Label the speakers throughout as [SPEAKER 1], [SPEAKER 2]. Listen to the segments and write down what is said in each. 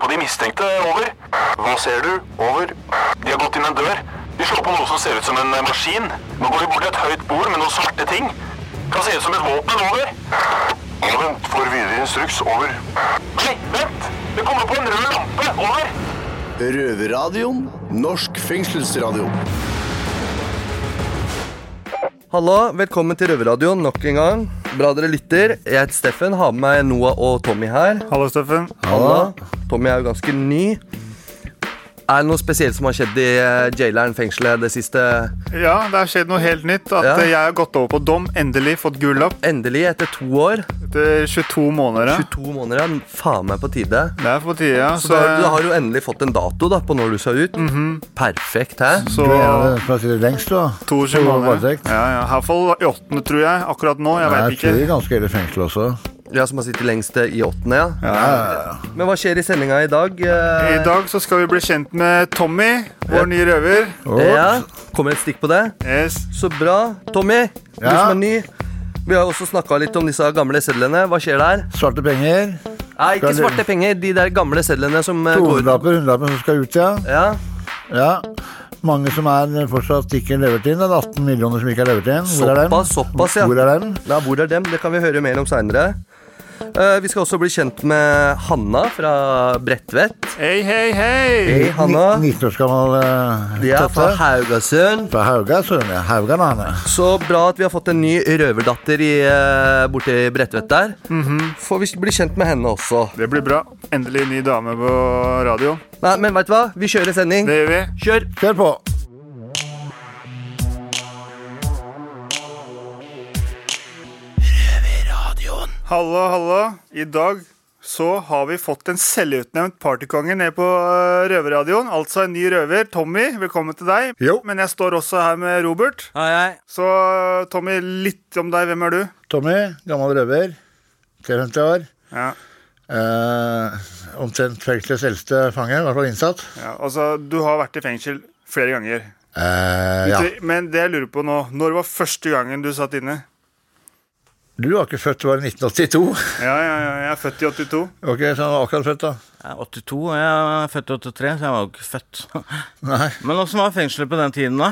[SPEAKER 1] på de mistenkte. Over. Hva ser du? Over. De har gått inn en dør. De slår på noe som ser ut som en eh, maskin. Nå går de bort til et høyt bord med noen svarte ting. Kan se ut som et våpen. Over. Vent for videre instruks. Over. Nei, vent! Det kommer på en rød lampe. Over.
[SPEAKER 2] Røverradioen. Norsk fengselsradio.
[SPEAKER 3] Hallo, velkommen til Røverradioen nok en gang. Bra dere lytter. Jeg heter Steffen, har med meg Noah og Tommy her.
[SPEAKER 4] Hallo, Steffen.
[SPEAKER 3] Hallo. Tommy er jo ganske ny. Er det noe spesielt som har skjedd i eh, jaileren, fengselet, det siste?
[SPEAKER 4] Ja, det har skjedd noe helt nytt. At
[SPEAKER 3] Ja.
[SPEAKER 4] eh, jeg har gått over på dom. Endelig fått gullapp
[SPEAKER 3] Endelig, etter to år.
[SPEAKER 4] etter 22 måneder.
[SPEAKER 3] To måneder er faen meg på tide.
[SPEAKER 4] Det er på tide, ja.
[SPEAKER 3] Så Mhm.
[SPEAKER 4] Så,
[SPEAKER 3] da, du har jo endelig fått en dato da, på når du skal ut. Perfekt, hæ?
[SPEAKER 4] så
[SPEAKER 5] Du er det som har sittet lengst, da.
[SPEAKER 4] 22
[SPEAKER 5] år
[SPEAKER 4] måneder.
[SPEAKER 5] varetekt.
[SPEAKER 4] Ja, ja. Herfall i åttende, tror jeg. Akkurat nå. Jeg
[SPEAKER 5] Nei,
[SPEAKER 4] veit
[SPEAKER 5] Jeg tror
[SPEAKER 4] ikke.
[SPEAKER 5] det er ganske hele fengsel også.
[SPEAKER 3] Ja, som har sittet lengst eh, i åttende, ja. Men hva skjer i sendinga i dag?
[SPEAKER 4] I
[SPEAKER 3] Eh,
[SPEAKER 4] dag så skal vi bli kjent med Tommy, vår nye røver.
[SPEAKER 3] Ja, kommer et stikk på det?
[SPEAKER 4] Yes.
[SPEAKER 3] Så bra. Tommy, du
[SPEAKER 5] Ja?
[SPEAKER 3] som er ny. Vi har jo også snakka litt om disse gamle sedlene. Hva skjer der?
[SPEAKER 5] Svarte penger.
[SPEAKER 3] Nei, ikke
[SPEAKER 5] Skal du-
[SPEAKER 3] svarte penger. De der gamle sedlene som eh, går
[SPEAKER 5] Hovedlapper, hundrelapper som skal ut, ja.
[SPEAKER 3] Ja,
[SPEAKER 5] ja. Mange som er eh, fortsatt ikke levert inn. Det er 18 millioner som ikke er levert inn. Hvor er den?
[SPEAKER 3] Såpass, såpass, ja.
[SPEAKER 5] Hvor er den?
[SPEAKER 3] ja, hvor er dem? Det kan vi høre mer om seinere. vi skal også bli kjent med Hanna fra Bredtvet.
[SPEAKER 4] Hei, hei, hei!
[SPEAKER 3] Hei, Hanna.
[SPEAKER 5] Ni- 19 år gammel uh,
[SPEAKER 3] De er fra Haugasund.
[SPEAKER 5] Fra Hauga, søren. ja. Haugan er han. ja.
[SPEAKER 3] Så bra at vi har fått en ny røverdatter i, eh, borte i Bredtvet der.
[SPEAKER 5] Mhm.
[SPEAKER 3] Får vi bli kjent med henne også.
[SPEAKER 4] Det blir bra. Endelig ny dame på radio.
[SPEAKER 3] Nei, men veit du hva? Vi kjører sending.
[SPEAKER 4] Det gjør vi.
[SPEAKER 3] Kjør!
[SPEAKER 5] Kjør på.
[SPEAKER 4] Hallo, hallo. I dag så har vi fått en selvutnevnt partykonge ned på eh, røverradioen. Altså en ny røver. Tommy, velkommen til deg.
[SPEAKER 5] Jo.
[SPEAKER 4] Men jeg står også her med Robert. Så eh, Tommy, litt om deg. Hvem er du?
[SPEAKER 5] Tommy, gammel røver. 53 år.
[SPEAKER 4] Ja.
[SPEAKER 5] Eh, omtrent fengselets eldste fange, i hvert fall innsatt.
[SPEAKER 4] ja. Altså, du har vært i fengsel flere ganger.
[SPEAKER 5] Eh, ja.
[SPEAKER 4] Men det jeg lurer på nå, når var første gangen du satt inne?
[SPEAKER 5] Du var ikke født, du var i 1982.
[SPEAKER 4] Ja, ja, ja. Jeg er født i 82.
[SPEAKER 5] Du var ikke sånn akkurat født, da.
[SPEAKER 6] Jeg er 82, og jeg er født i 83, så jeg var jo ikke født.
[SPEAKER 5] Nei.
[SPEAKER 6] Men åssen var fengselet på den tiden, da?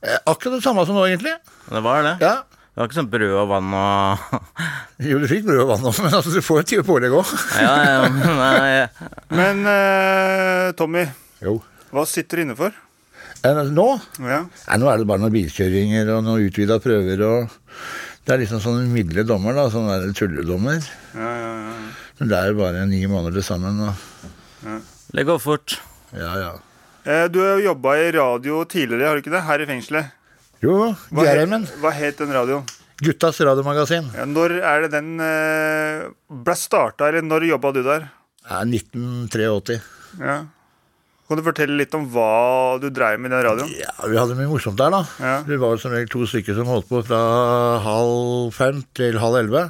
[SPEAKER 5] Eh, Akkurat det samme som nå, egentlig.
[SPEAKER 6] Det var det.
[SPEAKER 5] Ja.
[SPEAKER 6] Det var ikke sånn brød og vann og
[SPEAKER 5] Jo, du fikk brød og vann også, men altså, du får en time pålegg òg.
[SPEAKER 6] Ja, ja, men nei,
[SPEAKER 4] Men eh, Tommy,
[SPEAKER 5] Jo.
[SPEAKER 4] hva sitter du inne for?
[SPEAKER 5] Eh, nå?
[SPEAKER 4] Ja.
[SPEAKER 5] Nei, nå er det bare noen bilkjøringer og noen utvida prøver og Det er liksom sånne milde dommer, da. Sånne der tulledommer.
[SPEAKER 4] Ja, ja, ja.
[SPEAKER 5] Men det er jo bare ni måneder til sammen. Og,
[SPEAKER 6] det går fort.
[SPEAKER 5] ja, ja.
[SPEAKER 4] Eh, Du har jo jobba i radio tidligere, har du ikke det? Her i fengselet.
[SPEAKER 5] Jo, Gjerheimen.
[SPEAKER 4] het, hva het den radioen?
[SPEAKER 5] Guttas Radiomagasin.
[SPEAKER 4] Ja, når er det den eh, ble starta, eller når jobba du der?
[SPEAKER 5] Ja, 1983.
[SPEAKER 4] Ja. Kan du fortelle litt om hva du dreiv med i den radioen?
[SPEAKER 5] Ja, Vi hadde mye morsomt der, da.
[SPEAKER 4] Ja.
[SPEAKER 5] Vi var som regel to stykker som holdt på fra halv fem til halv elleve.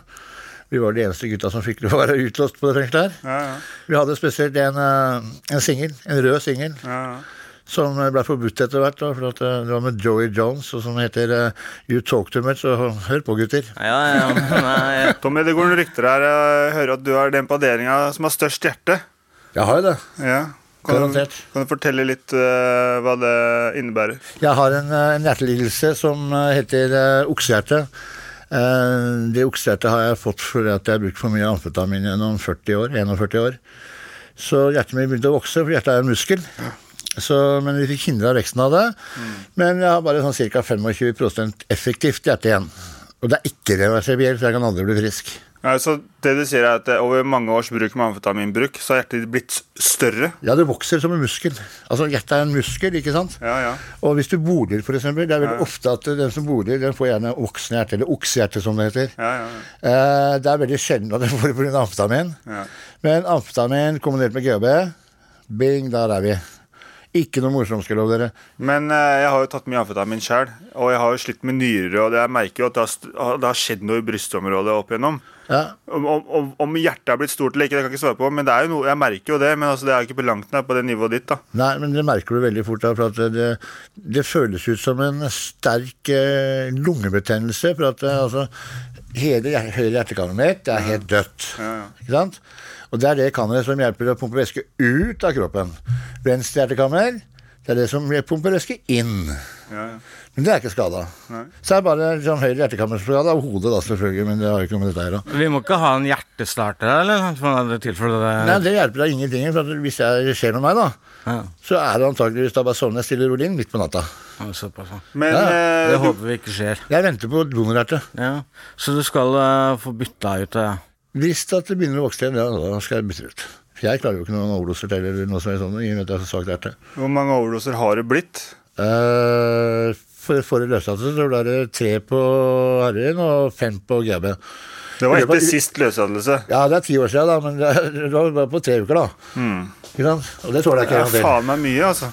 [SPEAKER 5] Vi var de eneste gutta som fikk lov å være utlåst på det fengselet her.
[SPEAKER 4] Ja, ja.
[SPEAKER 5] Vi hadde spesielt en, eh, en singel, en rød singel,
[SPEAKER 4] ja, ja.
[SPEAKER 5] som ble forbudt etter hvert. da, For at eh, det var med Joey Jones, og som heter eh, You Talk Too Much. Så hør på, gutter.
[SPEAKER 6] Ja, ja, men nei.
[SPEAKER 4] Tommy, det går noen rykter her. Jeg hører at du er den på avdelinga som har størst hjerte.
[SPEAKER 5] Jeg har jo det.
[SPEAKER 4] Ja. Kan, du,
[SPEAKER 5] Garantert.
[SPEAKER 4] kan du fortelle litt eh, hva det innebærer?
[SPEAKER 5] Jeg har en, eh, en hjertelidelse som eh, heter eh, oksehjerte. Eh, det oksehjertet har jeg fått fordi at jeg har brukt for mye amfetamin gjennom 40 år, 41 år. Så hjertet mitt begynte å vokse, for hjertet er en muskel. Så, men vi fikk hindra veksten av det. Men jeg har bare sånn ca. 25 effektivt hjerte igjen. Og det er ikke reversibelt, for jeg kan aldri bli frisk.
[SPEAKER 4] Ja, så det du sier er at eh, Over mange års bruk med amfetaminbruk så har hjertet ditt blitt s- større?
[SPEAKER 5] Ja, det vokser som en muskel. Altså, hjertet er en muskel, ikke sant?
[SPEAKER 4] Ja, ja.
[SPEAKER 5] Og hvis du boler, f.eks. Det er veldig ofte at den som boler, den får gjerne voksne hjerte, eller oksehjerte, som det heter.
[SPEAKER 4] ja, ja.
[SPEAKER 5] Eh, Det er veldig sjelden at jeg får det pga. amfetamin.
[SPEAKER 4] Ja.
[SPEAKER 5] Men amfetamin kombinert med GHB, bing, der er vi. Ikke noe morsomt, skal jeg love dere.
[SPEAKER 4] Men eh, jeg har jo tatt mye amfetamin sjøl, og jeg har jo slitt med nyrer. Og det jeg merker jo at det har, st- har- det har skjedd noe i brystområdet opp igjennom.
[SPEAKER 5] Ja.
[SPEAKER 4] Om, om- om, om hjertet er blitt stort eller ikke, det kan jeg ikke svare på, men det er jo noe, jeg merker jo det. Men altså, det er jo ikke på langt nær på det nivået ditt, da.
[SPEAKER 5] Nei, men det merker du veldig fort. Da, for at det, det føles ut som en sterk eh, lungebetennelse. For at eh, altså, hele hjer- høyre hjertekammer mitt det er helt dødt. Ikke sant? Og det er det kammeret som hjelper å pumpe væske ut av kroppen. Venstrehjertekammer, det er det som pumper væske inn.
[SPEAKER 4] Ja, ja.
[SPEAKER 5] Men det er ikke skada. Så er det bare liksom, høyre hjertekammer som er skada, og hodet da selvfølgelig, men det har jo ikke noe med dette her å
[SPEAKER 6] Vi må ikke ha en hjertestarter her, eller? For det tilfellet
[SPEAKER 5] Nei,
[SPEAKER 6] det
[SPEAKER 5] det hjelper deg ingenting. For at hvis det skjer noe med meg, da,
[SPEAKER 6] Ja,
[SPEAKER 5] så er det antakeligvis da bare sovner jeg stille og rolig inn midt på natta.
[SPEAKER 6] ja, såpass. ja.
[SPEAKER 4] Men
[SPEAKER 5] Ja,
[SPEAKER 4] eh,
[SPEAKER 6] Det
[SPEAKER 4] du,
[SPEAKER 6] håper vi ikke skjer.
[SPEAKER 5] Jeg venter på donorhjerte.
[SPEAKER 6] Ja. Så du skal eh, få bytta ut det.
[SPEAKER 5] Hvis det at det begynner å vokse til, ja, da skal jeg bytte det ut. For jeg klarer jo ikke noen overdoser til eller noe som er sånn, i og med at jeg har så svakt hjerte.
[SPEAKER 4] hvor mange overdoser har det blitt?
[SPEAKER 5] Eh, for, for det løslatte så ble det tre på heroin og fem på GB.
[SPEAKER 4] Det var
[SPEAKER 5] Det var-
[SPEAKER 4] etter sist løslatelse.
[SPEAKER 5] Ja, det er ti år siden, da, men det, er, det var bare på tre uker, da.
[SPEAKER 4] Hmm.
[SPEAKER 5] Ikke sant? Og det tåler
[SPEAKER 4] Det
[SPEAKER 5] jeg ikke.
[SPEAKER 4] er
[SPEAKER 5] en gang til.
[SPEAKER 4] faen meg mye, altså.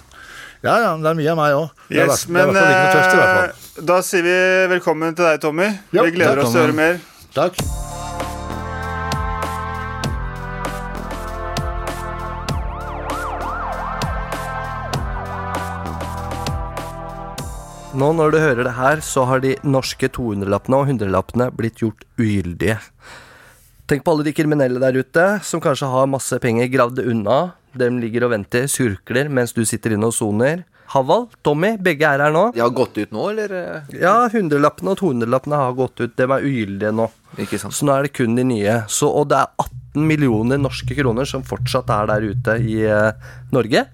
[SPEAKER 5] Ja, ja, men det er mye av meg òg. det er i
[SPEAKER 4] Yes,
[SPEAKER 5] hvert- det er i
[SPEAKER 4] men
[SPEAKER 5] hvert fall ikke noe tøft, i hvert fall.
[SPEAKER 4] eh, da sier vi velkommen til deg, Tommy.
[SPEAKER 5] Ja,
[SPEAKER 4] vi gleder
[SPEAKER 5] takk,
[SPEAKER 4] oss til å høre mer.
[SPEAKER 5] Takk.
[SPEAKER 3] Nå når du hører det her, så har de norske 200-lappene og 100-lappene blitt gjort ugyldige. Tenk på alle de kriminelle der ute som kanskje har masse penger gravd unna. Dem ligger og venter, surkler mens du sitter inne og soner. Havald, Tommy, begge er her nå.
[SPEAKER 7] De har gått ut nå, eller? eh,
[SPEAKER 3] Ja, 100-lappene og 200-lappene har gått ut. Dem er ugyldige nå.
[SPEAKER 7] Ikke sant.
[SPEAKER 3] Så nå er det kun de nye. Så, og det er 18 millioner norske kroner som fortsatt er der ute i eh, Norge.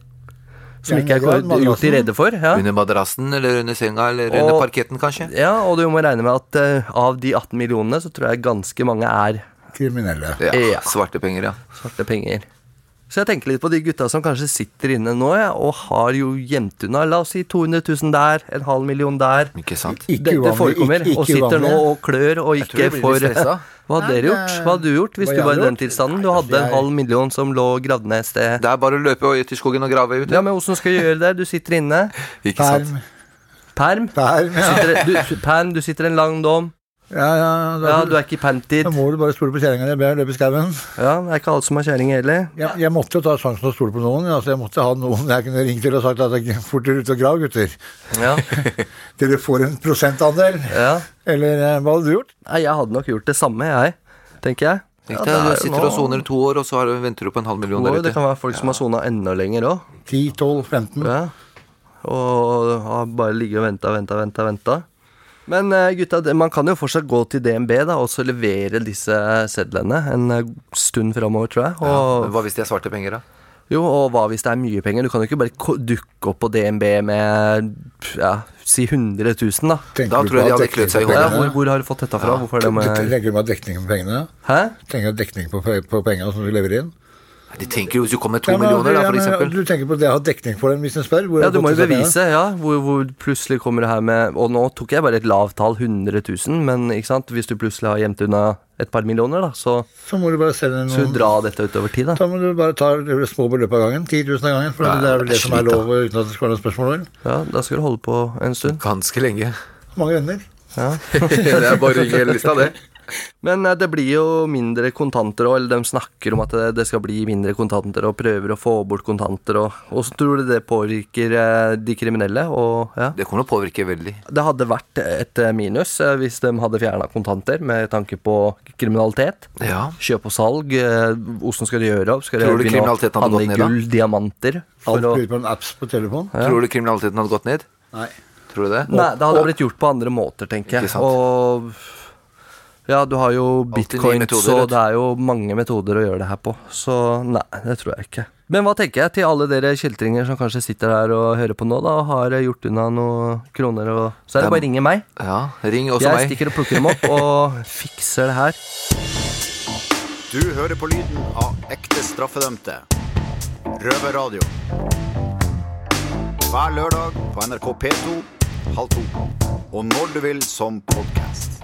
[SPEAKER 3] Som
[SPEAKER 5] Ja,
[SPEAKER 3] ikke er
[SPEAKER 5] Norge,
[SPEAKER 3] kor- gjort de rede for. Ja.
[SPEAKER 7] Under madrassen, eller under senga, eller
[SPEAKER 3] Og-
[SPEAKER 7] under parketten, kanskje?
[SPEAKER 3] ja, og du må regne med at eh, av de 18 millionene, så tror jeg ganske mange er
[SPEAKER 5] Kriminelle.
[SPEAKER 7] Ja,
[SPEAKER 3] Ja.
[SPEAKER 7] Svarte penger, ja.
[SPEAKER 3] svarte penger. Så jeg tenker litt på de gutta som kanskje sitter inne nå, ja, og har jo gjemt unna, la oss si 200 000 der, en halv million der.
[SPEAKER 7] Ikke sant?
[SPEAKER 5] Ikke
[SPEAKER 3] Dette forekommer,
[SPEAKER 5] ikke- ikke
[SPEAKER 3] og sitter nå
[SPEAKER 5] uvanlig.
[SPEAKER 3] og klør og
[SPEAKER 7] tror
[SPEAKER 3] ikke
[SPEAKER 7] jeg blir
[SPEAKER 3] får
[SPEAKER 7] litt stresset.
[SPEAKER 3] Hva hadde dere gjort? Hva hadde du gjort altså, hvis
[SPEAKER 5] Hva
[SPEAKER 3] du
[SPEAKER 5] jeg
[SPEAKER 3] var i
[SPEAKER 5] hadde
[SPEAKER 3] den
[SPEAKER 5] gjort?
[SPEAKER 3] tilstanden? Du
[SPEAKER 5] Nei,
[SPEAKER 3] hadde en
[SPEAKER 5] jeg-
[SPEAKER 3] halv million som lå gravd ned et sted.
[SPEAKER 7] Det er bare å løpe ut i skogen og grave ut.
[SPEAKER 3] Ja, men hvordan skal du gjøre det? Du sitter inne.
[SPEAKER 7] Ikke sant?
[SPEAKER 5] Perm.
[SPEAKER 3] Perm.
[SPEAKER 5] Perm, ja.
[SPEAKER 3] Sitter, du, perm, du sitter en lang dom.
[SPEAKER 5] Ja, ja, da,
[SPEAKER 3] Ja, du er ikke i permtid.
[SPEAKER 5] da må du bare stole på kjerringa di. Be henne løpe i skauen.
[SPEAKER 3] Ja, det er ikke alle som har kjerring heller.
[SPEAKER 5] Jeg, jeg måtte jo ta sjansen og stole på noen. ja, så jeg måtte ha noen jeg kunne ringt til og sagt at jeg fort dere ut og grav, gutter.
[SPEAKER 3] Ja,
[SPEAKER 5] Dere får en prosentandel.
[SPEAKER 3] ja.
[SPEAKER 5] Eller eh, hva hadde du gjort?
[SPEAKER 3] Nei, jeg hadde nok gjort det samme, jeg. Tenker jeg. Ja,
[SPEAKER 7] Tenk deg,
[SPEAKER 3] det er
[SPEAKER 7] du sitter
[SPEAKER 3] nå-
[SPEAKER 7] og soner i to år, og så har du- venter du på en halv million
[SPEAKER 3] Nå,
[SPEAKER 7] der
[SPEAKER 3] det kan
[SPEAKER 7] ute.
[SPEAKER 3] være folk som har sona enda lenger òg.
[SPEAKER 5] 10, 12, 15?
[SPEAKER 3] Ja. Og har bare ligget og venta, venta, venta, venta. Men eh, gutta, det- man kan jo fortsatt gå til DNB da, og så levere disse sedlene en eh, stund framover, tror jeg. Og,
[SPEAKER 7] Men Hva hvis de er svarte penger, da?
[SPEAKER 3] jo, og hva hvis det er mye penger? Du kan jo ikke bare ko- dukke opp på DNB med ja, si 100 000, da.
[SPEAKER 5] Tenker
[SPEAKER 7] Da
[SPEAKER 5] du
[SPEAKER 7] tror jeg
[SPEAKER 5] på
[SPEAKER 7] de hadde
[SPEAKER 5] dekning
[SPEAKER 7] klødd seg i
[SPEAKER 5] på
[SPEAKER 3] Ja,
[SPEAKER 7] hodet.
[SPEAKER 3] hvor,
[SPEAKER 5] pengene?
[SPEAKER 3] hvor har du fått dette fra? Hvorfor er det med
[SPEAKER 5] Tenker du på dekning på pengene?
[SPEAKER 3] Hæ?
[SPEAKER 5] Tenker du dekning på, pe- på pengene som du leverer inn?
[SPEAKER 7] De tenker jo hvis du kommer med to
[SPEAKER 5] Ja, men-
[SPEAKER 7] millioner, da,
[SPEAKER 5] ja,
[SPEAKER 7] for
[SPEAKER 5] men
[SPEAKER 7] eksempel.
[SPEAKER 5] Du tenker på det å ha dekning for dem hvis en spør? hvor
[SPEAKER 3] Ja,
[SPEAKER 5] har
[SPEAKER 3] du
[SPEAKER 5] gått
[SPEAKER 3] må jo
[SPEAKER 5] disse pengene?
[SPEAKER 3] bevise, ja. Hvor, hvor plutselig kommer det her med Og nå tok jeg bare et lavt tall, 100 000, men ikke sant? hvis du plutselig har gjemt unna et par millioner, da, så
[SPEAKER 5] Så må du bare selge
[SPEAKER 3] skal du
[SPEAKER 5] noen
[SPEAKER 3] dra dette utover tid, da.
[SPEAKER 5] Da må du bare ta små beløp av gangen. 10 000 av gangen. For det er vel det som er lov uten at det skal være noe spørsmål om.
[SPEAKER 3] Ja, da skal du holde på en stund.
[SPEAKER 7] Ganske lenge.
[SPEAKER 5] Mange venner.
[SPEAKER 7] det er bare å ringe hele lista, det.
[SPEAKER 3] Men eh, det blir jo mindre kontanter òg, eller de snakker om at det, det skal bli mindre kontanter, og prøver å få bort kontanter og Åssen tror du det påvirker eh, de kriminelle? Og ja.
[SPEAKER 7] Det kommer til å påvirke veldig.
[SPEAKER 3] Det hadde vært et eh, minus eh, hvis de hadde fjerna kontanter med tanke på kriminalitet.
[SPEAKER 7] Ja.
[SPEAKER 3] Kjøp og salg. eh, Hvordan skal de gjøre opp? Skal de
[SPEAKER 7] Tror du
[SPEAKER 3] begynne å
[SPEAKER 7] kriminaliteten hadde gått ned, da?
[SPEAKER 3] gull, diamanter? for
[SPEAKER 5] Alt
[SPEAKER 3] å-
[SPEAKER 5] blir på en apps på telefon.
[SPEAKER 7] Tror du kriminaliteten hadde gått ned?
[SPEAKER 5] Nei.
[SPEAKER 7] Tror du det?
[SPEAKER 3] Nei, det hadde blitt gjort på andre måter, tenker
[SPEAKER 7] Ikke
[SPEAKER 3] jeg.
[SPEAKER 7] sant.
[SPEAKER 3] Og ja, du har jo
[SPEAKER 7] Alltid nye
[SPEAKER 3] bitcoin,
[SPEAKER 7] metoder,
[SPEAKER 3] så
[SPEAKER 7] vet du.
[SPEAKER 3] det er jo mange metoder å gjøre det her på. Så nei, det tror jeg ikke. Men hva tenker jeg til alle dere kjeltringer som kanskje sitter der og hører på nå, da, og har eh, gjort unna noen kroner og Så er det
[SPEAKER 7] Dem.
[SPEAKER 3] bare å ringe meg.
[SPEAKER 7] Ja, ring også
[SPEAKER 3] Jeg
[SPEAKER 7] meg.
[SPEAKER 3] stikker og plukker dem opp og fikser det her.
[SPEAKER 8] Du hører på lyden av ekte straffedømte. Røverradio. Hver lørdag på NRK P2 halv to. Og når du vil som podkast.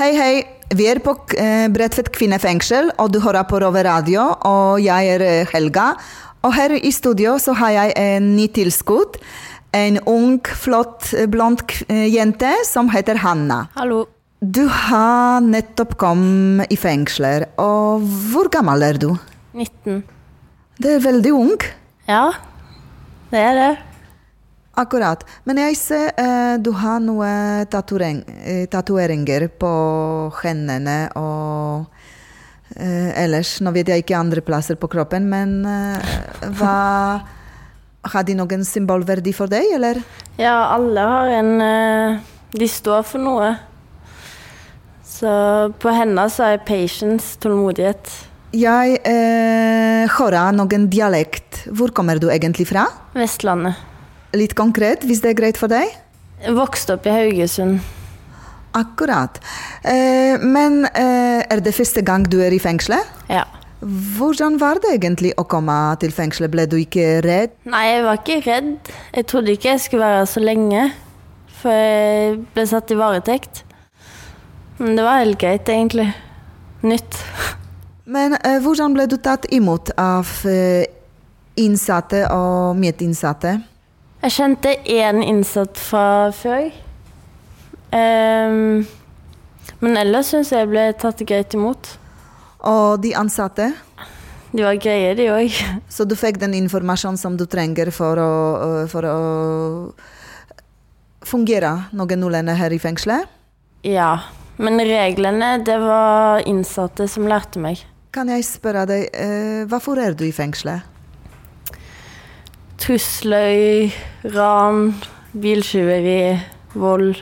[SPEAKER 9] Hei, hei. Vi er på eh, Bredtvet kvinnefengsel, og du hører på Rover Radio. Og jeg er eh, Helga. Og her i studio så har jeg en ny tilskudd. En ung, flott, eh, blond kv- eh, jente som heter Hanna.
[SPEAKER 10] Hallo.
[SPEAKER 9] Du har nettopp kommet i fengsler, og hvor gammel er du?
[SPEAKER 10] 19.
[SPEAKER 9] Du er veldig ung.
[SPEAKER 10] Ja, det er det.
[SPEAKER 9] Akkurat. Men jeg ser eh, du har noen tatoveringer på hendene og eh, ellers. Nå vet jeg ikke andre plasser på kroppen, men eh, hva Har de noen symbolverdi for deg, eller?
[SPEAKER 10] Ja, alle har en eh, De står for noe. Så på henne så er patience tålmodighet.
[SPEAKER 9] Jeg eh, hører noen dialekt. Hvor kommer du egentlig fra?
[SPEAKER 10] Vestlandet.
[SPEAKER 9] Litt konkret, hvis det er greit for deg?
[SPEAKER 10] Jeg vokste opp i Haugesund.
[SPEAKER 9] Akkurat. Eh, men eh, er det første gang du er i fengselet?
[SPEAKER 10] Ja.
[SPEAKER 9] Hvordan var det egentlig å komme til fengselet? Ble du ikke redd?
[SPEAKER 10] Nei, jeg var ikke redd. Jeg trodde ikke jeg skulle være her så lenge. For jeg ble satt i varetekt. Men det var helt greit, egentlig. Nytt.
[SPEAKER 9] Men eh, hvordan ble du tatt imot av eh, innsatte og medinnsatte?
[SPEAKER 10] Jeg kjente én innsatt fra før. Ehm, men ellers syns jeg jeg ble tatt greit imot.
[SPEAKER 9] Og de ansatte?
[SPEAKER 10] De var greie, de òg.
[SPEAKER 9] Så du fikk den informasjonen som du trenger for å, eh, for å fungere noenlunde her i fengselet?
[SPEAKER 10] Ja. Men reglene, det var innsatte som lærte meg.
[SPEAKER 9] Kan jeg spørre deg, eh, hvorfor er du i fengselet?
[SPEAKER 10] Trusler, ran, biltyveri, vold.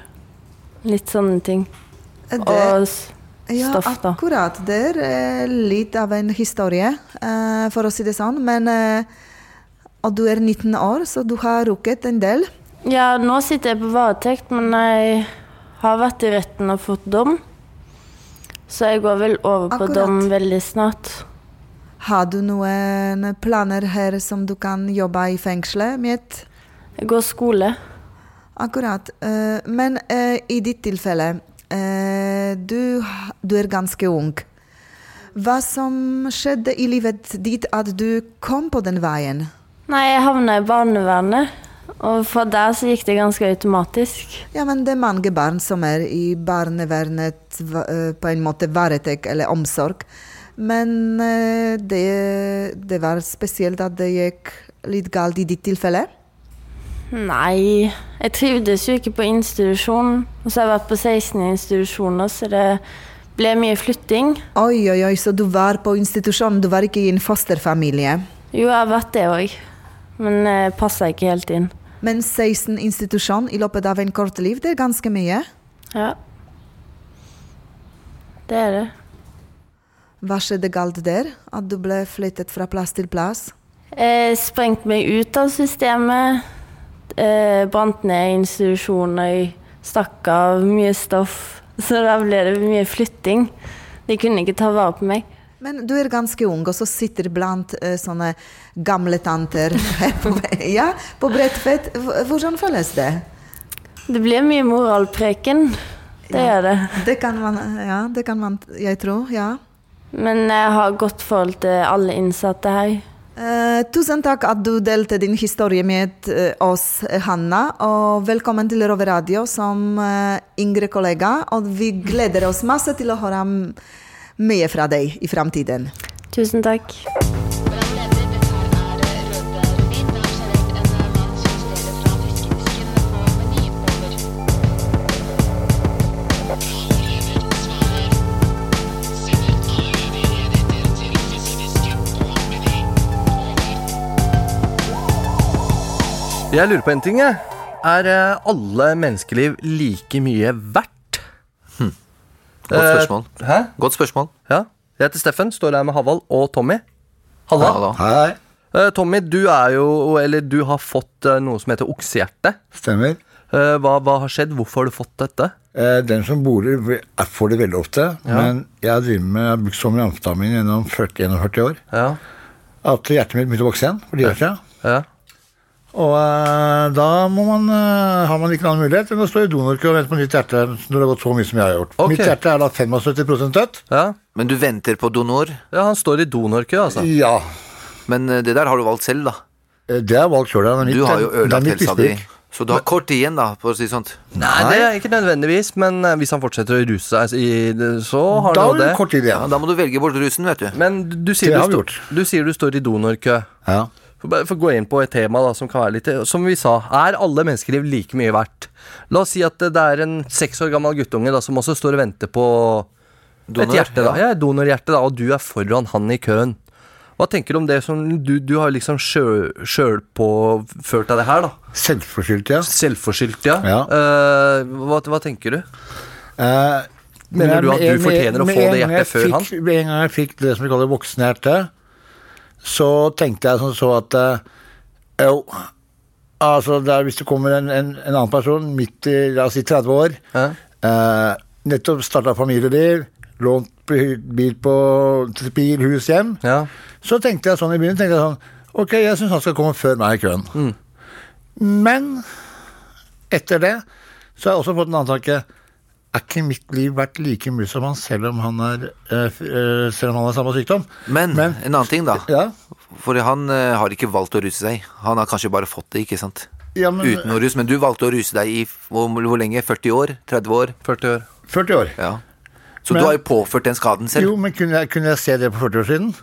[SPEAKER 10] Litt sånne ting.
[SPEAKER 9] Eh, det-
[SPEAKER 10] Og s-
[SPEAKER 9] Ja,
[SPEAKER 10] stoff, da.
[SPEAKER 9] akkurat. Det er eh, litt av en historie, eh, for å si det sånn. Men eh, Og du er 19 år, så du har rukket en del.
[SPEAKER 10] Ja, nå sitter jeg på varetekt, men jeg har vært i retten og fått dom. Så jeg går vel over på
[SPEAKER 9] Akkurat.
[SPEAKER 10] dom veldig snart.
[SPEAKER 9] Har du noen planer her som du kan jobbe i fengselet med?
[SPEAKER 10] Jeg går skole.
[SPEAKER 9] Akkurat. Eh, men eh, i ditt tilfelle, eh, du, ha- du er ganske ung. Hva som skjedde i livet ditt at du kom på den veien?
[SPEAKER 10] Nei, jeg havna i barnevernet, og fra der så gikk det ganske automatisk.
[SPEAKER 9] Ja, men det er mange barn som er i barnevernet, va- eh, på en måte varetekt eller omsorg. Men eh, det, det var spesielt at det gikk litt galt i ditt tilfelle.
[SPEAKER 10] Nei, jeg trivdes jo ikke på institusjon. Og så har jeg vært på 16 institusjoner, så det ble mye flytting.
[SPEAKER 9] Oi, oi, oi, så du var på institusjon, du var ikke i en fosterfamilie.
[SPEAKER 10] Jo, jeg har vært det òg, men jeg passa ikke helt inn.
[SPEAKER 9] Men 16 institusjon i løpet av en kort liv, det er ganske mye.
[SPEAKER 10] Ja. Det er det.
[SPEAKER 9] Hva skjedde galt der? At du ble flyttet fra plass til plass?
[SPEAKER 10] Jeg sprengte Eh, meg ut av systemet. Eh, brant ned institusjoner, stakk av mye stoff. Så da ble det mye flytting. De kunne ikke ta vare på meg.
[SPEAKER 9] Men du er ganske ung, og så sitter blant eh, sånne gamle tanter her på, ja, på Bredtvet. H- Hvordan føles det?
[SPEAKER 10] Det ble mye moralpreken. Det gjør det.
[SPEAKER 9] Det kan man, ja, det kan man jeg tror. Ja.
[SPEAKER 10] Men jeg har godt forhold til alle innsatte her.
[SPEAKER 9] Eh, tusen takk at du delte din historie med eh, oss, Hanna. Og velkommen til Rover Radio som eh, yngre kollega. Og vi gleder oss masse til å høre m- mye fra deg i framtiden.
[SPEAKER 10] Tusen takk.
[SPEAKER 3] Jeg lurer på en ting, jeg. Er eh, alle menneskeliv like mye verdt?
[SPEAKER 7] Hm. Godt spørsmål.
[SPEAKER 3] Eh, Hæ?
[SPEAKER 7] Godt spørsmål.
[SPEAKER 3] Ja. Jeg heter Steffen, står her med Havald og Tommy. Halla.
[SPEAKER 7] Ja, da.
[SPEAKER 5] Hei,
[SPEAKER 3] Eh, Tommy, du er jo Eller du har fått eh, noe som heter oksehjerte.
[SPEAKER 5] stemmer.
[SPEAKER 3] Eh, hva, hva har skjedd? Hvorfor har du fått dette?
[SPEAKER 5] Eh, Den som boler, blir- er- får det veldig ofte. Men jeg har drevet med jeg har brukt så mye amfetamin gjennom 40, 41 år
[SPEAKER 3] Ja.
[SPEAKER 5] at hjertet mitt begynte å vokse igjen. for det gjør ikke jeg.
[SPEAKER 3] ja.
[SPEAKER 5] Og eh, da må man, eh, har man ikke en annen mulighet enn å stå i donorkø og vente på nytt hjerte når det har gått så mye som jeg har gjort.
[SPEAKER 3] Ok.
[SPEAKER 5] Mitt hjerte er da 75 dødt.
[SPEAKER 3] ja.
[SPEAKER 7] Men du venter på donor.
[SPEAKER 3] Ja, han står i donorkø, altså.
[SPEAKER 5] Ja.
[SPEAKER 7] Men eh, det der har du valgt selv, da.
[SPEAKER 5] Eh, Det er valgt sjøl. Det er mitt-
[SPEAKER 7] Du har jo
[SPEAKER 5] det er
[SPEAKER 7] ødelagt
[SPEAKER 5] mitt
[SPEAKER 7] helsa di.
[SPEAKER 5] misbruk.
[SPEAKER 7] Så du har kort igjen, da, for å si det sånn. sånt.
[SPEAKER 3] Nei, det er ikke nødvendigvis, men eh, hvis han fortsetter å ruse seg, i det, så har
[SPEAKER 5] Da
[SPEAKER 3] han
[SPEAKER 5] har
[SPEAKER 3] jo
[SPEAKER 5] du
[SPEAKER 3] det.
[SPEAKER 5] kort tid
[SPEAKER 7] Ja,
[SPEAKER 5] igjen.
[SPEAKER 7] da må du velge bort rusen, vet du.
[SPEAKER 3] Men du sier
[SPEAKER 5] Det
[SPEAKER 3] du,
[SPEAKER 5] har vi
[SPEAKER 3] sto- du sier du står i donorkø.
[SPEAKER 5] Ja.
[SPEAKER 3] For bare- for å gå inn på et tema da, som kan være litt Som vi sa, er alle menneskeliv like mye verdt? La oss si at det det er en seks år gammel guttunge da, som også står og venter på et
[SPEAKER 7] Donor,
[SPEAKER 3] hjerte. da
[SPEAKER 7] ja.
[SPEAKER 3] Ja, et donorhjerte, da, og du er foran han i køen. Hva tenker du om det som Du, du har liksom sjøl- sjølpåført av det her, da.
[SPEAKER 5] Selvforskyldt, ja.
[SPEAKER 3] Selvforskyldt, ja.
[SPEAKER 5] Ja.
[SPEAKER 3] Eh, hva, hva tenker du?
[SPEAKER 5] Eh,
[SPEAKER 3] Mener
[SPEAKER 5] men
[SPEAKER 3] du at
[SPEAKER 5] med-
[SPEAKER 3] du fortjener å
[SPEAKER 5] med
[SPEAKER 3] få
[SPEAKER 5] en
[SPEAKER 3] det
[SPEAKER 5] gang
[SPEAKER 3] hjertet
[SPEAKER 5] jeg
[SPEAKER 3] før
[SPEAKER 5] fikk, Med en gang jeg fikk det som vi kaller voksenhjerte, så tenkte jeg sånn så at eh, jo, altså det er, hvis det kommer en, en, en annen person midt i la oss si 30 år, eh, nettopp starta familieliv, lånt bi- bil på bil, hus, hjem, så tenkte jeg sånn i begynnelsen, tenkte jeg sånn, ok, jeg syns han skal komme før meg i køen.
[SPEAKER 3] Mm.
[SPEAKER 5] Men etter det så har jeg også fått en annen tanke. Er ikke mitt liv verdt like mye som han, selv om han er, eh, f- eh, selv om han har samme sykdom?
[SPEAKER 7] Men, en annen ting, da.
[SPEAKER 5] Ja.
[SPEAKER 7] For han eh, har ikke valgt å ruse seg. Han har kanskje bare fått det, ikke sant?
[SPEAKER 5] Ja, men-
[SPEAKER 7] Uten noe rus. Men du valgte å ruse deg i f- hvor, hvor lenge? 40 år? 30 år?
[SPEAKER 3] 40 år.
[SPEAKER 5] 40 år.
[SPEAKER 7] Ja. Så
[SPEAKER 5] Men-
[SPEAKER 7] du har jo påført den skaden selv.
[SPEAKER 5] Jo, men kunne jeg, kunne jeg se det på 40 år siden?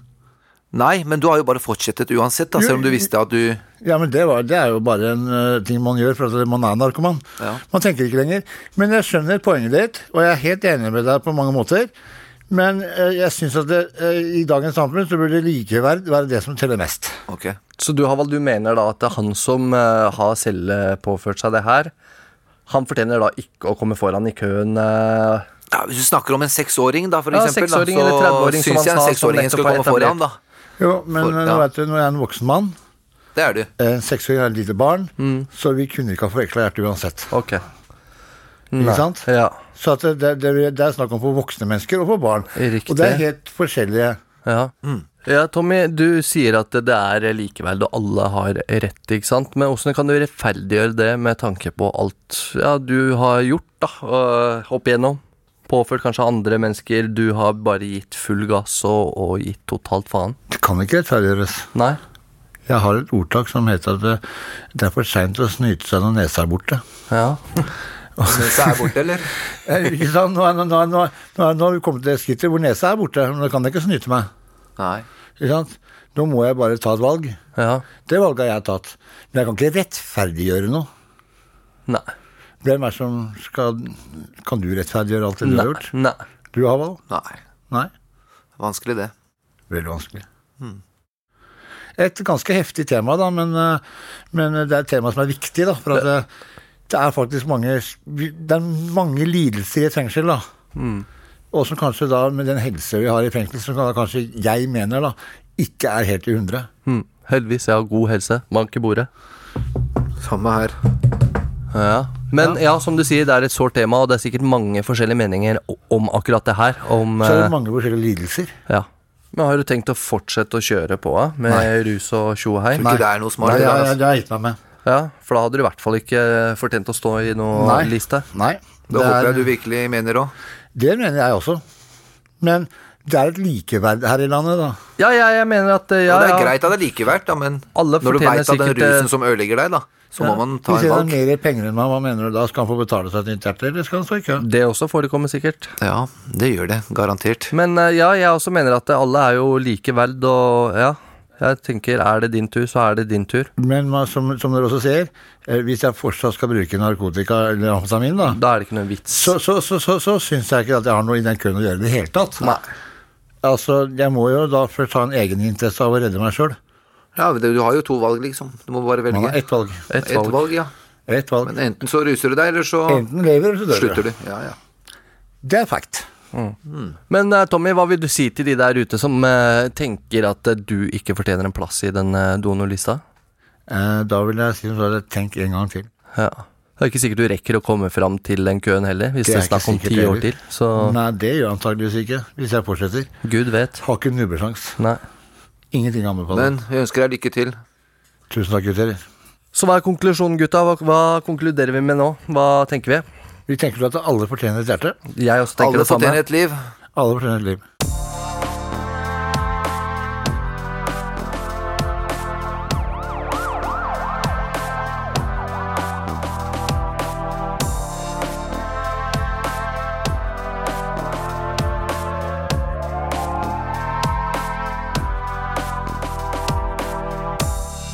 [SPEAKER 7] Nei, men du har jo bare fortsettet uansett, da,
[SPEAKER 5] Jo,
[SPEAKER 7] selv om du visste at du
[SPEAKER 5] Ja, men det, var, det er jo bare en eh, ting man gjør for at man er narkoman.
[SPEAKER 7] Ja.
[SPEAKER 5] Man tenker ikke lenger. Men jeg skjønner poenget ditt, og jeg er helt enig med deg på mange måter. Men eh, jeg syns at det, eh, i dagens samfunn så burde likeverd være det som teller mest.
[SPEAKER 7] Ok.
[SPEAKER 3] Så du, Havald, du mener da at det er han som eh, har selv eh, påført seg det her, han fortjener da ikke å komme foran i køen eh,
[SPEAKER 7] Ja, Hvis du snakker om en seksåring, da, for
[SPEAKER 3] Ja,
[SPEAKER 7] eksempel, da,
[SPEAKER 3] seksåring eller 30-åring, som
[SPEAKER 7] syns
[SPEAKER 3] han
[SPEAKER 7] jeg
[SPEAKER 3] sa, som
[SPEAKER 7] seksåringen
[SPEAKER 3] nettopp
[SPEAKER 7] skal
[SPEAKER 3] er
[SPEAKER 7] komme foran, da.
[SPEAKER 3] etablert.
[SPEAKER 5] Jo, men
[SPEAKER 7] For-
[SPEAKER 5] eh, nå
[SPEAKER 7] ja.
[SPEAKER 5] vet du, når jeg er en voksen mann, eh,
[SPEAKER 7] Det er du.
[SPEAKER 5] en seksåring er et lite barn, så vi kunne ikke ha forveksla hjertet uansett.
[SPEAKER 3] Ok.
[SPEAKER 5] Ikke sant?
[SPEAKER 3] Ja.
[SPEAKER 5] Så at det, det, det er snakk om for voksne mennesker og for barn.
[SPEAKER 3] Riktig.
[SPEAKER 5] Og det er helt forskjellige
[SPEAKER 3] Ja.
[SPEAKER 5] Mm.
[SPEAKER 3] ja, Tommy, du sier at det er likeverd og alle har rett, ikke sant? Men hvordan kan du rettferdiggjøre det med tanke på alt ja, du har gjort da, øh, opp igjennom? Påført kanskje andre mennesker, du har bare gitt full gass og, og gitt totalt faen?
[SPEAKER 5] Det kan ikke rettferdiggjøres.
[SPEAKER 3] Nei?
[SPEAKER 5] Jeg har et ordtak som heter at det, det er for seint å snyte seg når nesa er borte.
[SPEAKER 3] Ja.
[SPEAKER 7] Nesa er borte, eller?
[SPEAKER 5] Eh, Ikke sant? Nå er- nå- nå- nå- nå er- nå har vi kommet til det skrittet hvor nesa er borte, men da kan jeg ikke snyte meg.
[SPEAKER 7] Nei.
[SPEAKER 5] Ikke sant? Nå må jeg bare ta et valg.
[SPEAKER 3] Ja.
[SPEAKER 5] Det valget har jeg tatt. Men jeg kan ikke rettferdiggjøre noe.
[SPEAKER 3] Nei.
[SPEAKER 5] Hvem er det som skal Kan du rettferdiggjøre alt det du har gjort?
[SPEAKER 3] Nei.
[SPEAKER 5] Du har valg?
[SPEAKER 7] Nei.
[SPEAKER 5] Nei?
[SPEAKER 7] Vanskelig, det.
[SPEAKER 5] Veldig vanskelig.
[SPEAKER 7] Hmm.
[SPEAKER 5] Et ganske heftig tema, da, men, eh, men det er et tema som er viktig. da, for at eh, Det er faktisk mange det er mange lidelser i et fengsel. da,
[SPEAKER 7] Hmm.
[SPEAKER 5] Og som kanskje da, med den helse vi har i fengsel, som da kanskje jeg mener da, ikke er helt i hundre.
[SPEAKER 3] Hm. Heldigvis, jeg har god helse. Bank i bordet.
[SPEAKER 7] Samme her.
[SPEAKER 3] Ja. Men ja. som du sier, det er et sårt tema, og det er sikkert mange forskjellige meninger o- om akkurat det her. Om,
[SPEAKER 5] Så er det
[SPEAKER 3] eh,
[SPEAKER 5] mange forskjellige lidelser.
[SPEAKER 3] ja. Men har du tenkt å fortsette å kjøre på eh, med rus og tjo og hei?
[SPEAKER 7] Tror ikke det er noe smart.
[SPEAKER 5] Nei, det
[SPEAKER 7] i det
[SPEAKER 5] har jeg-
[SPEAKER 7] der, altså.
[SPEAKER 5] det har jeg gitt meg med.
[SPEAKER 3] Ja, for da hadde du i hvert fall ikke eh, fortjent å stå i noen
[SPEAKER 5] Nei.
[SPEAKER 3] liste.
[SPEAKER 5] Nei,
[SPEAKER 7] Det håper jeg
[SPEAKER 5] det,
[SPEAKER 7] du
[SPEAKER 5] er,
[SPEAKER 7] virkelig mener òg.
[SPEAKER 5] det mener jeg også. Men det er et likeverd her i landet, da.
[SPEAKER 3] Ja, ja, jeg mener at eh, ja,
[SPEAKER 7] Og det er
[SPEAKER 3] ja.
[SPEAKER 7] greit at det er likeverd, da, men
[SPEAKER 3] Alle
[SPEAKER 7] når du
[SPEAKER 3] fortjener
[SPEAKER 7] veit at den
[SPEAKER 3] sikkert, eh,
[SPEAKER 7] rusen som ødelegger deg, da, så må man ta
[SPEAKER 5] Hvis
[SPEAKER 7] en
[SPEAKER 5] jeg har
[SPEAKER 7] valg.
[SPEAKER 5] mer penger enn meg, hva mener du da? Skal han få betale seg et nytt hjerte, eller skal han stå i kø?
[SPEAKER 3] Det også forekommer sikkert.
[SPEAKER 7] Ja, det gjør det. Garantert.
[SPEAKER 3] Men eh, ja, jeg også mener at eh, alle er jo like verd, og ja. Jeg tenker, er det din tur, så er det din tur.
[SPEAKER 5] Men man- som, som dere også ser, eh, hvis jeg fortsatt skal bruke narkotika eller amfetamin, da,
[SPEAKER 3] Da er det ikke noen vits.
[SPEAKER 5] så, så, så, så, så syns jeg ikke at jeg har noe i den køen å gjøre i det hele tatt. Altså, Jeg må jo da først ha en egeninteresse av å redde meg sjøl.
[SPEAKER 7] Ja, men det- Du har jo to valg, liksom. Du må bare
[SPEAKER 5] Man har
[SPEAKER 7] velge.
[SPEAKER 5] ett valg.
[SPEAKER 3] Et
[SPEAKER 7] Ett
[SPEAKER 3] valg.
[SPEAKER 7] valg, ja.
[SPEAKER 5] Ett valg.
[SPEAKER 7] Men enten så ruser du deg, eller så
[SPEAKER 5] Enten lever eller så dør
[SPEAKER 7] slutter du. Ja, ja.
[SPEAKER 5] Det er fact.
[SPEAKER 3] Men eh, Tommy, hva vil du si til de der ute som eh, tenker at eh, du ikke fortjener en plass i den eh, donorlista?
[SPEAKER 5] Eh, da vil jeg si som så at tenk en gang til.
[SPEAKER 3] Ja. Det er ikke sikkert du rekker å komme fram til den køen heller, hvis det
[SPEAKER 5] er
[SPEAKER 3] er snakk
[SPEAKER 5] ikke
[SPEAKER 3] om
[SPEAKER 5] sikkert
[SPEAKER 3] ti år
[SPEAKER 5] heller.
[SPEAKER 3] til. Så
[SPEAKER 5] Nei, det gjør jeg antageligvis ikke, hvis jeg fortsetter.
[SPEAKER 3] gud vet.
[SPEAKER 5] Har ikke nubbesjans.
[SPEAKER 3] Nei.
[SPEAKER 5] Ingenting å anbefale.
[SPEAKER 7] Men vi ønsker deg lykke til.
[SPEAKER 5] Tusen takk, gutter.
[SPEAKER 3] Så hva er konklusjonen, gutta? Hva, hva konkluderer vi med nå? Hva tenker vi?
[SPEAKER 5] Vi tenker at alle fortjener et hjerte.
[SPEAKER 3] Jeg også tenker
[SPEAKER 7] Alle
[SPEAKER 3] det samme.
[SPEAKER 7] fortjener et liv.
[SPEAKER 5] Alle fortjener et liv.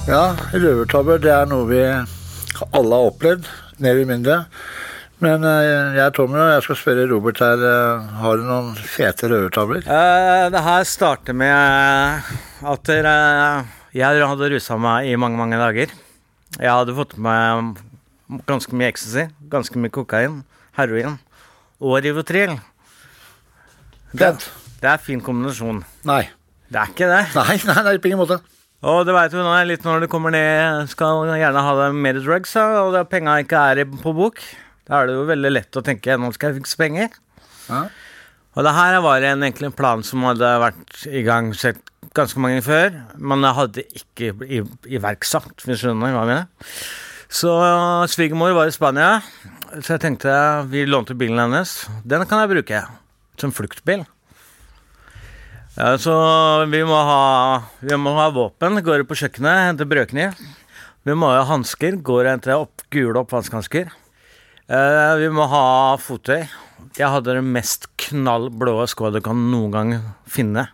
[SPEAKER 5] Ja, røvertabber det er noe vi alle har opplevd, mer eller mindre. Men eh, jeg er Tommy, og jeg skal spørre Robert her. eh, Har du noen fete røvertabber?
[SPEAKER 6] Eh, det her starter med eh, at eh, jeg hadde rusa meg i mange, mange dager. Jeg hadde fått med meg ganske mye ecstasy, ganske mye kokain, heroin og Rivotril. Det, det er fin kombinasjon.
[SPEAKER 5] Nei.
[SPEAKER 6] Det er ikke det.
[SPEAKER 5] Nei, nei, nei på ingen måte.
[SPEAKER 6] Og det veit du nå, litt når du kommer ned, skal gjerne ha deg mer drugs, da, og da penga ikke er i- på bok. Da er det jo veldig lett å tenke nå skal jeg fikse penger. Og det her var en, egentlig en plan som hadde vært i gang sett ganske mange ganger før, men jeg hadde ikke bl- i- iverksatt, hvis du skjønner hva jeg mener. Så eh, svigermor var i Spania, så jeg tenkte vi lånte bilen hennes. Den kan jeg bruke som fluktbil. Ja, så vi må ha, vi må ha våpen. Går du på kjøkkenet, henter brødkniv. Vi må ha hansker. Går og henter opp, gule oppvaskhansker. Eh, vi må ha fottøy. Jeg hadde den mest knallblå skoa du kan noen gang finne.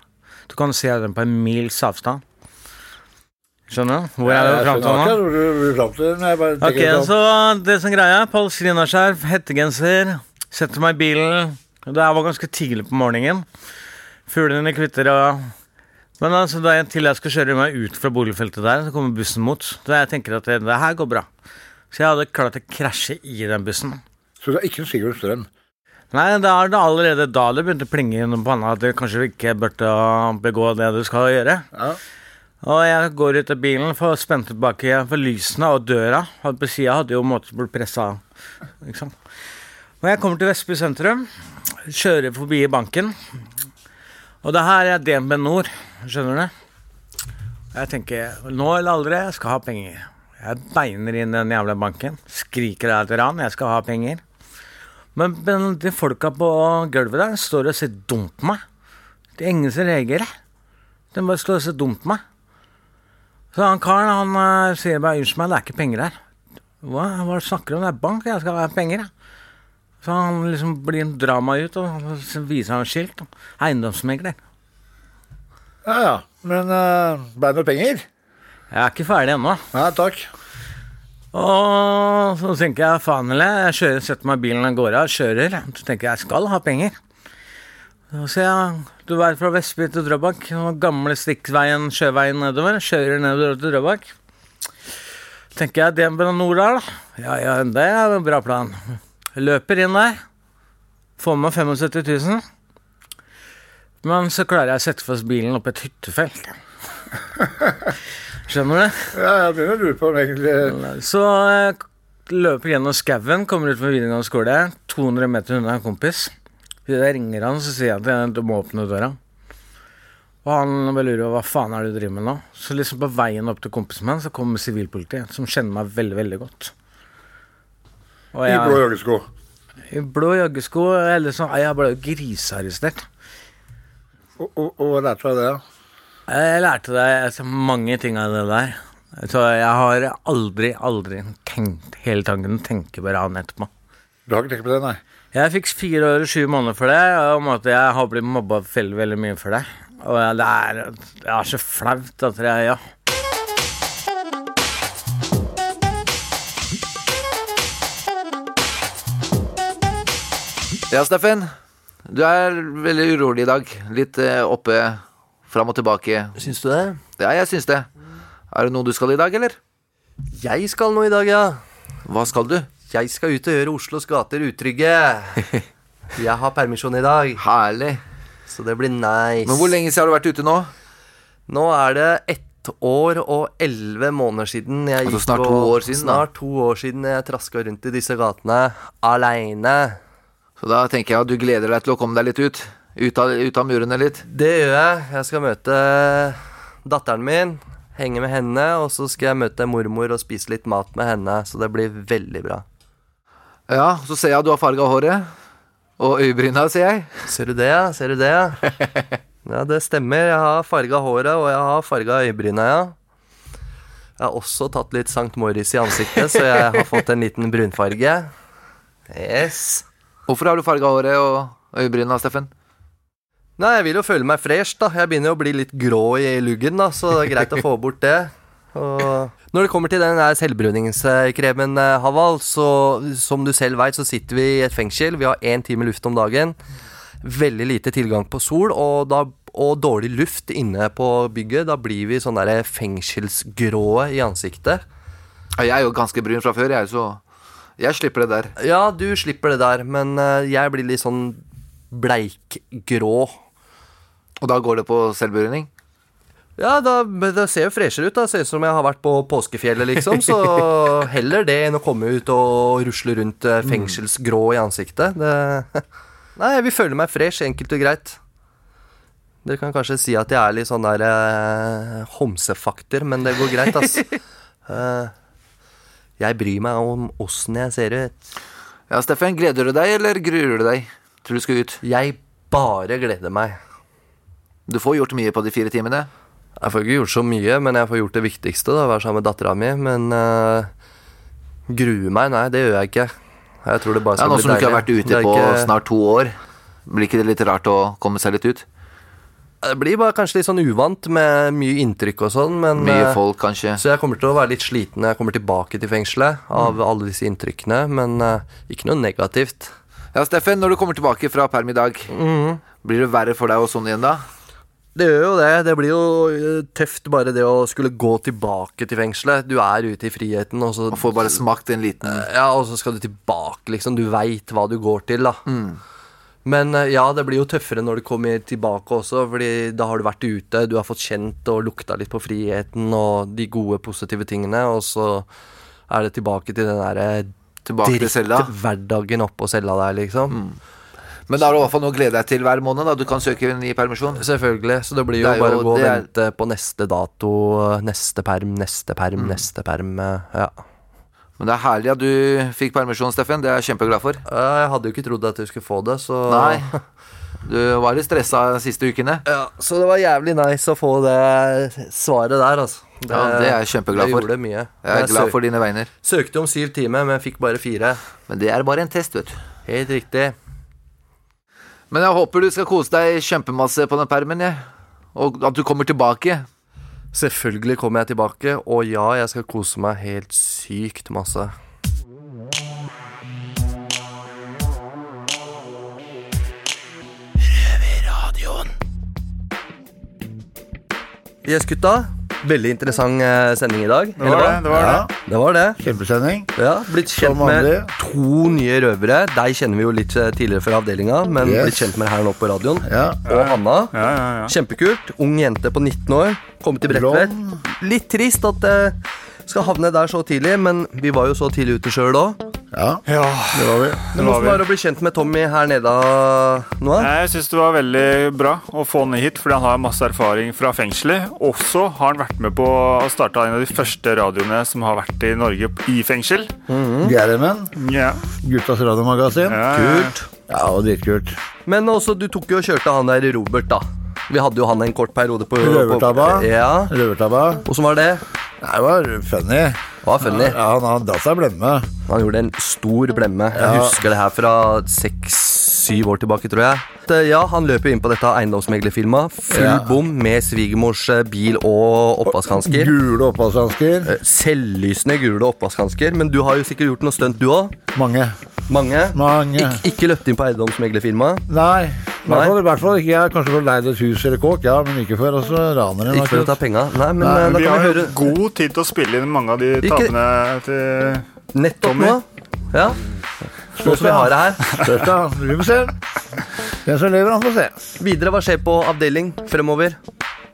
[SPEAKER 6] Du kan se den på en mils avstand. Skjønner du? Hvor er det
[SPEAKER 5] Jeg
[SPEAKER 6] fram
[SPEAKER 5] skjønner
[SPEAKER 6] til
[SPEAKER 5] ikke
[SPEAKER 6] nå?
[SPEAKER 5] Hvor du, hvor du fram til men jeg bare
[SPEAKER 6] Ok,
[SPEAKER 5] tenker sånn.
[SPEAKER 6] så det som greia er Palestinaskjerf, hettegenser Setter meg i bilen Det her var ganske tidlig på morgenen Fuglene kvitter og Men altså, da jeg, til jeg skal kjøre meg ut fra boligfeltet der Så kommer bussen mot Så jeg tenker at det, det her går bra Så jeg hadde klart å krasje i den bussen
[SPEAKER 5] Så du er ikke Sigurd Strøm?
[SPEAKER 6] Nei, det er det allerede da det begynte å plinge under panna At du kanskje ikke burde begå det du skal gjøre
[SPEAKER 5] Ja.
[SPEAKER 6] og jeg går ut av bilen for å spenne tilbake igjen for lysene og døra. Og På sida hadde jo måte blitt pressa av. Liksom. Og jeg kommer til Vestby sentrum, kjører forbi banken. Og det her er DNB Nord, skjønner du? Jeg tenker nå eller aldri, jeg skal ha penger. Jeg beiner inn den jævla banken, skriker etter han, jeg skal ha penger. Men, men de folka på gulvet der står og ser dumt på meg. Det er ingen som reagerer. De bare står og ser dumt på meg. Så han karen han eh, sier bare 'unnskyld meg, det er ikke penger her'. Hva, hva snakker du om? Det er bank, jeg skal ha penger. jeg». Så han liksom blir en drama ut, og så viser han skilt. da. Eiendomsmegler.
[SPEAKER 5] Ja ja. Men uh, ble det noe penger?
[SPEAKER 6] Jeg er ikke ferdig ennå.
[SPEAKER 5] Nei, takk.
[SPEAKER 6] Og så tenker jeg faen eller jeg kjører, setter meg i bilen av gårde og kjører. Så tenker jeg jeg skal ha penger. Og så jeg, du veit fra Vestby til Drøbak, og gamle stikkveien, sjøveien nedover. Kjører nedover til Drøbak. Tenker jeg DNB Norddal. Ja, ja, det er en bra plan. Løper inn der. Får med 75 000. Men så klarer jeg å sette fast bilen opp et hyttefelt. Skjønner du?
[SPEAKER 5] Ja, jeg begynner å lure på om egentlig
[SPEAKER 6] Så jeg k- løper gjennom skauen, kommer ut fra videregående skole. 200 meter unna en kompis. Jeg ringer han så sier jeg at jeg- du må åpne døra. Og han bare lurer på hva faen er det du driver med nå. Så liksom på veien opp til kompisen min så kommer sivilpolitiet, som kjenner meg veldig, veldig godt. Og
[SPEAKER 5] I blå joggesko.
[SPEAKER 6] I blå joggesko. Eller sånn, jeg ble jo grisearrestert.
[SPEAKER 5] Og, og, og hva lærte du av det? da?
[SPEAKER 6] Jeg lærte deg altså, mange ting av det der. Så jeg har aldri, aldri tenkt hele tanken tenke på han etterpå.
[SPEAKER 5] Du har ikke tenkt på det, nei?
[SPEAKER 6] Jeg fikk fire år og sju måneder for det, og om at jeg har blitt mobba veldig, veldig mye for det. Og jeg- det er, det er så flaut at jeg Ja.
[SPEAKER 7] Ja, Steffen. Du er veldig urolig i dag. Litt eh, oppe, fram og tilbake.
[SPEAKER 11] Syns du det?
[SPEAKER 7] Ja, jeg syns det. Er det noe du skal i dag, eller?
[SPEAKER 11] Jeg skal nå i dag, ja.
[SPEAKER 7] Hva skal du?
[SPEAKER 11] Jeg skal ut og gjøre Oslos gater utrygge. Jeg har permisjon i dag.
[SPEAKER 7] Herlig.
[SPEAKER 11] Så det blir nice.
[SPEAKER 7] Men hvor lenge siden har du vært ute nå?
[SPEAKER 11] Nå er det ett år og elleve måneder siden jeg
[SPEAKER 7] Altså
[SPEAKER 11] gikk
[SPEAKER 7] snart
[SPEAKER 11] og-
[SPEAKER 7] to år siden, da.
[SPEAKER 11] Snart to år siden jeg traska rundt i disse gatene aleine.
[SPEAKER 7] Så da tenker jeg at du gleder deg til å komme deg litt ut. Ut av, ut av murene litt.
[SPEAKER 11] Det gjør jeg. Jeg skal møte datteren min, henge med henne, og så skal jeg møte mormor og spise litt mat med henne. Så det blir veldig bra.
[SPEAKER 7] Ja, så ser jeg at du har farga håret. Og øyebryna, ser jeg.
[SPEAKER 11] Ser du det, ja? Ser du det, ja? Ja, det stemmer. Jeg har farga håret, og jeg har farga øyebryna, ja. Jeg har også tatt litt St. Morris i ansiktet, så jeg har fått en liten brunfarge. Yes.
[SPEAKER 7] Hvorfor har du farga håret og øyebryna, Steffen?
[SPEAKER 11] Nei, jeg vil jo føle meg fresh, da. Jeg begynner jo å bli litt grå i luggen, da, så det er greit å få bort det.
[SPEAKER 3] Og når det kommer til den her selvbruningskremen, eh, Haval, så som du selv veit, så sitter vi i et fengsel. Vi har én time luft om dagen. Veldig lite tilgang på sol, og, da, og dårlig luft inne på bygget. Da blir vi sånn derre fengselsgråe i ansiktet.
[SPEAKER 7] Jeg er jo ganske brun fra før, jeg, så jeg slipper det der.
[SPEAKER 3] Ja, du slipper det der, men eh, jeg blir litt sånn bleikgrå.
[SPEAKER 7] Og da går det på selvbruning?
[SPEAKER 3] Ja, da, men det ser jo freshere ut. da Ser ut som jeg har vært på påskefjellet, liksom. Så heller det enn å komme ut og rusle rundt eh, fengselsgrå i ansiktet. Det, nei, jeg vil føle meg fresh, enkelt og greit. Dere kan kanskje si at jeg er litt sånn der eh, homsefakter, men det går greit, ass. Eh, jeg bryr meg om åssen jeg ser ut.
[SPEAKER 7] Ja, Steffen, gleder du deg, eller gruer du deg til du skal ut?
[SPEAKER 3] Jeg bare gleder meg.
[SPEAKER 7] Du får gjort mye på de fire timene.
[SPEAKER 3] Jeg får ikke gjort så mye, men jeg får gjort det viktigste, da, være sammen med dattera mi. Men eh, grue meg, nei, det gjør jeg ikke. Jeg tror det bare
[SPEAKER 7] Ja,
[SPEAKER 3] skal
[SPEAKER 7] Nå
[SPEAKER 3] bli
[SPEAKER 7] som du ikke har vært
[SPEAKER 3] deilig.
[SPEAKER 7] ute
[SPEAKER 3] Det er
[SPEAKER 7] på
[SPEAKER 3] ikke-
[SPEAKER 7] snart to år, blir ikke det litt rart å komme seg litt ut?
[SPEAKER 3] Det blir bare kanskje litt sånn uvant med mye inntrykk og sånn, men
[SPEAKER 7] Mye
[SPEAKER 3] eh,
[SPEAKER 7] folk, kanskje.
[SPEAKER 3] Så jeg kommer til å være litt sliten når jeg kommer tilbake til fengselet av alle disse inntrykkene, men eh, ikke noe negativt.
[SPEAKER 7] Ja, Steffen, når du kommer tilbake fra perm i dag, blir det verre for deg og sånn igjen da?
[SPEAKER 3] Det gjør jo det. Det blir jo eh, tøft bare det å skulle gå tilbake til fengselet. Du er ute i friheten, og så
[SPEAKER 7] Og får bare smakt en liten
[SPEAKER 3] Eh, Ja, og så skal du tilbake, liksom. Du veit hva du går til, da. Men eh, ja, det blir jo tøffere når du kommer tilbake også, Fordi da har du vært ute, du har fått kjent og lukta litt på friheten og de gode, positive tingene, og så er det tilbake til den derre
[SPEAKER 7] Tilbake til cella.
[SPEAKER 3] hverdagen oppå cella der, liksom.
[SPEAKER 7] Men da har du i hvert fall noe å glede deg til hver måned, da. Du kan søke en ny permisjon.
[SPEAKER 3] Selvfølgelig. Så det blir jo
[SPEAKER 7] Det er
[SPEAKER 3] bare
[SPEAKER 7] jo-
[SPEAKER 3] å gå og
[SPEAKER 7] det er-
[SPEAKER 3] vente på neste dato, eh, neste perm, neste perm, neste perm. eh, Ja.
[SPEAKER 7] Men det er herlig at du fikk permisjon, Steffen. Det er jeg kjempeglad for.
[SPEAKER 3] Eh, Jeg hadde jo ikke trodd at du skulle få det, så
[SPEAKER 7] Nei. Du var litt stressa de siste ukene.
[SPEAKER 3] Ja, så det var jævlig nice å få det svaret der, altså.
[SPEAKER 7] Ja, det er jeg kjempeglad for.
[SPEAKER 3] Det gjorde mye.
[SPEAKER 7] Jeg er glad for dine vegner.
[SPEAKER 3] Søkte om syv timer, men fikk bare fire.
[SPEAKER 7] Men det er bare en test, vet du.
[SPEAKER 3] Helt riktig.
[SPEAKER 7] Men jeg håper du skal kose deg kjempemasse på den permen, jeg. Og at du kommer tilbake.
[SPEAKER 3] Selvfølgelig kommer jeg tilbake, og ja, jeg skal kose meg helt sykt masse. Yes, gutta. Veldig interessant eh, sending i dag.
[SPEAKER 4] Det var det. det, var det.
[SPEAKER 3] Det var det.
[SPEAKER 5] Kjempesending.
[SPEAKER 3] Ja, blitt kjent
[SPEAKER 5] Som vanlig.
[SPEAKER 3] med to nye røvere. Deg kjenner vi jo litt eh, tidligere fra avdelinga, men
[SPEAKER 5] Yes.
[SPEAKER 3] blitt kjent med her nå på radioen.
[SPEAKER 5] Ja.
[SPEAKER 3] Og Hanna.
[SPEAKER 4] Ja, ja, ja.
[SPEAKER 3] Kjempekult. Ung jente på 19 år. Kom til Bredtvet. Litt trist at det skal havne der så tidlig, men vi var jo så tidlig ute sjøl òg.
[SPEAKER 5] ja,
[SPEAKER 4] Ja,
[SPEAKER 5] det var vi.
[SPEAKER 4] det var
[SPEAKER 3] Hvordan
[SPEAKER 4] vi.
[SPEAKER 3] var det å bli kjent med Tommy her nede nå?
[SPEAKER 4] Nei, Jeg syns det var veldig bra å få han hit, fordi han har masse erfaring fra fengselet. Også har han vært med på å starte en av de første radioene som har vært i Norge i fengsel.
[SPEAKER 3] Mm.
[SPEAKER 5] Gjerrimen.
[SPEAKER 4] Ja,
[SPEAKER 5] Guttas radiomagasin.
[SPEAKER 4] ja, ja.
[SPEAKER 3] Kult.
[SPEAKER 5] Ja, og dritkult.
[SPEAKER 3] Men også, du tok jo og kjørte han der Robert, da. Vi hadde jo han en kort periode på
[SPEAKER 5] Røvertabba.
[SPEAKER 3] på- Ja.
[SPEAKER 5] Røvertabba.
[SPEAKER 3] Åssen var det?
[SPEAKER 5] Nei, Det var funny.
[SPEAKER 3] Det var funny.
[SPEAKER 5] Ja, han, han datt seg blemme.
[SPEAKER 3] Han gjorde en stor blemme. Jeg husker det her fra seks-syv år tilbake, tror jeg. Det- Ja, Han løper inn på dette eiendomsmeglerfilma. Full bom med svigermors eh, bil og oppvaskhansker.
[SPEAKER 5] Gule oppholdshansker.
[SPEAKER 3] Selvlysende gule oppvaskhansker. Men du har jo sikkert gjort noe stunt, du òg?
[SPEAKER 5] Mange.
[SPEAKER 3] Mange?
[SPEAKER 5] Mange.
[SPEAKER 3] Ik Eh. ikke løpt inn på eiendomsmeglerfirma?
[SPEAKER 5] Nei. I
[SPEAKER 3] Nei.
[SPEAKER 5] hvert fall, i hvert fall ikke jeg. Kanskje for leid et hus eller kåk, ja, men ikke for altså, ranere.
[SPEAKER 3] Ikke for å ta penga? Nei, men eh,
[SPEAKER 4] Men
[SPEAKER 3] da
[SPEAKER 4] Vi
[SPEAKER 3] kan
[SPEAKER 4] har
[SPEAKER 3] vi
[SPEAKER 4] jo
[SPEAKER 3] høre
[SPEAKER 4] god tid til å spille inn mange av de
[SPEAKER 3] Ikke-
[SPEAKER 4] tapene til
[SPEAKER 3] nettopp
[SPEAKER 4] Tommy.
[SPEAKER 3] nå. Ja. Nå som vi har det her.
[SPEAKER 5] Størst, da. Vi får se. Den som lever, han får se.
[SPEAKER 3] Videre, hva skjer på avdeling fremover?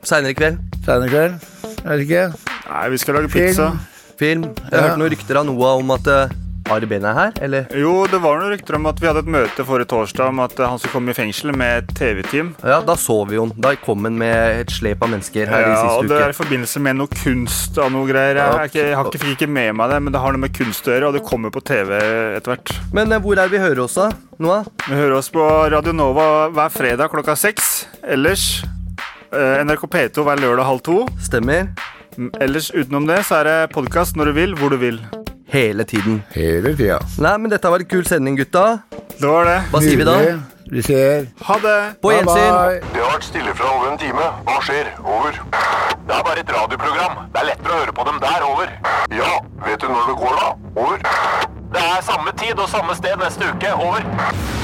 [SPEAKER 3] Seinere i kveld?
[SPEAKER 5] Senere kveld. Jeg vet ikke.
[SPEAKER 4] Nei, vi skal lage pizza.
[SPEAKER 5] Film.
[SPEAKER 3] Film? Jeg har hørt noen rykter av Noah om at eh, Ari Behn er her, eller?
[SPEAKER 4] Jo, det var noen rykter om at vi hadde et møte forrige torsdag om at han skulle komme i fengsel med et TV-team.
[SPEAKER 3] Ja, da så vi jo han. Da kom han med et slep av mennesker her i
[SPEAKER 4] Ja, Eh, og
[SPEAKER 3] siste
[SPEAKER 4] det
[SPEAKER 3] uke.
[SPEAKER 4] er i forbindelse med noe kunst og noe greier. Jeg, er ikke, jeg har ikke, fikk ikke med meg det, men det har noe med kunst å gjøre, og det kommer på TV etter hvert.
[SPEAKER 3] Men eh, hvor er vi hører oss, da? Noah?
[SPEAKER 4] Vi hører oss på Radio Nova hver fredag klokka seks. Ellers eh, NRK P2 hver lørdag halv to.
[SPEAKER 3] Stemmer.
[SPEAKER 4] Ellers utenom det så er det podkast når du vil, hvor du vil.
[SPEAKER 3] Hele tiden.
[SPEAKER 5] Hele tida.
[SPEAKER 3] Nei, men dette var en kul sending, gutta.
[SPEAKER 4] Det var det.
[SPEAKER 3] Hva sier vi da?
[SPEAKER 5] Nydelig. Vi ser.
[SPEAKER 4] Ha det.
[SPEAKER 3] På gjensyn.
[SPEAKER 1] Det har vært stille fra over en time. Hva skjer? Over. Det er bare et radioprogram. Det er lettere å høre på dem der, over. Ja, vet du når det går, da? Over. Det er samme tid og samme sted neste uke, over.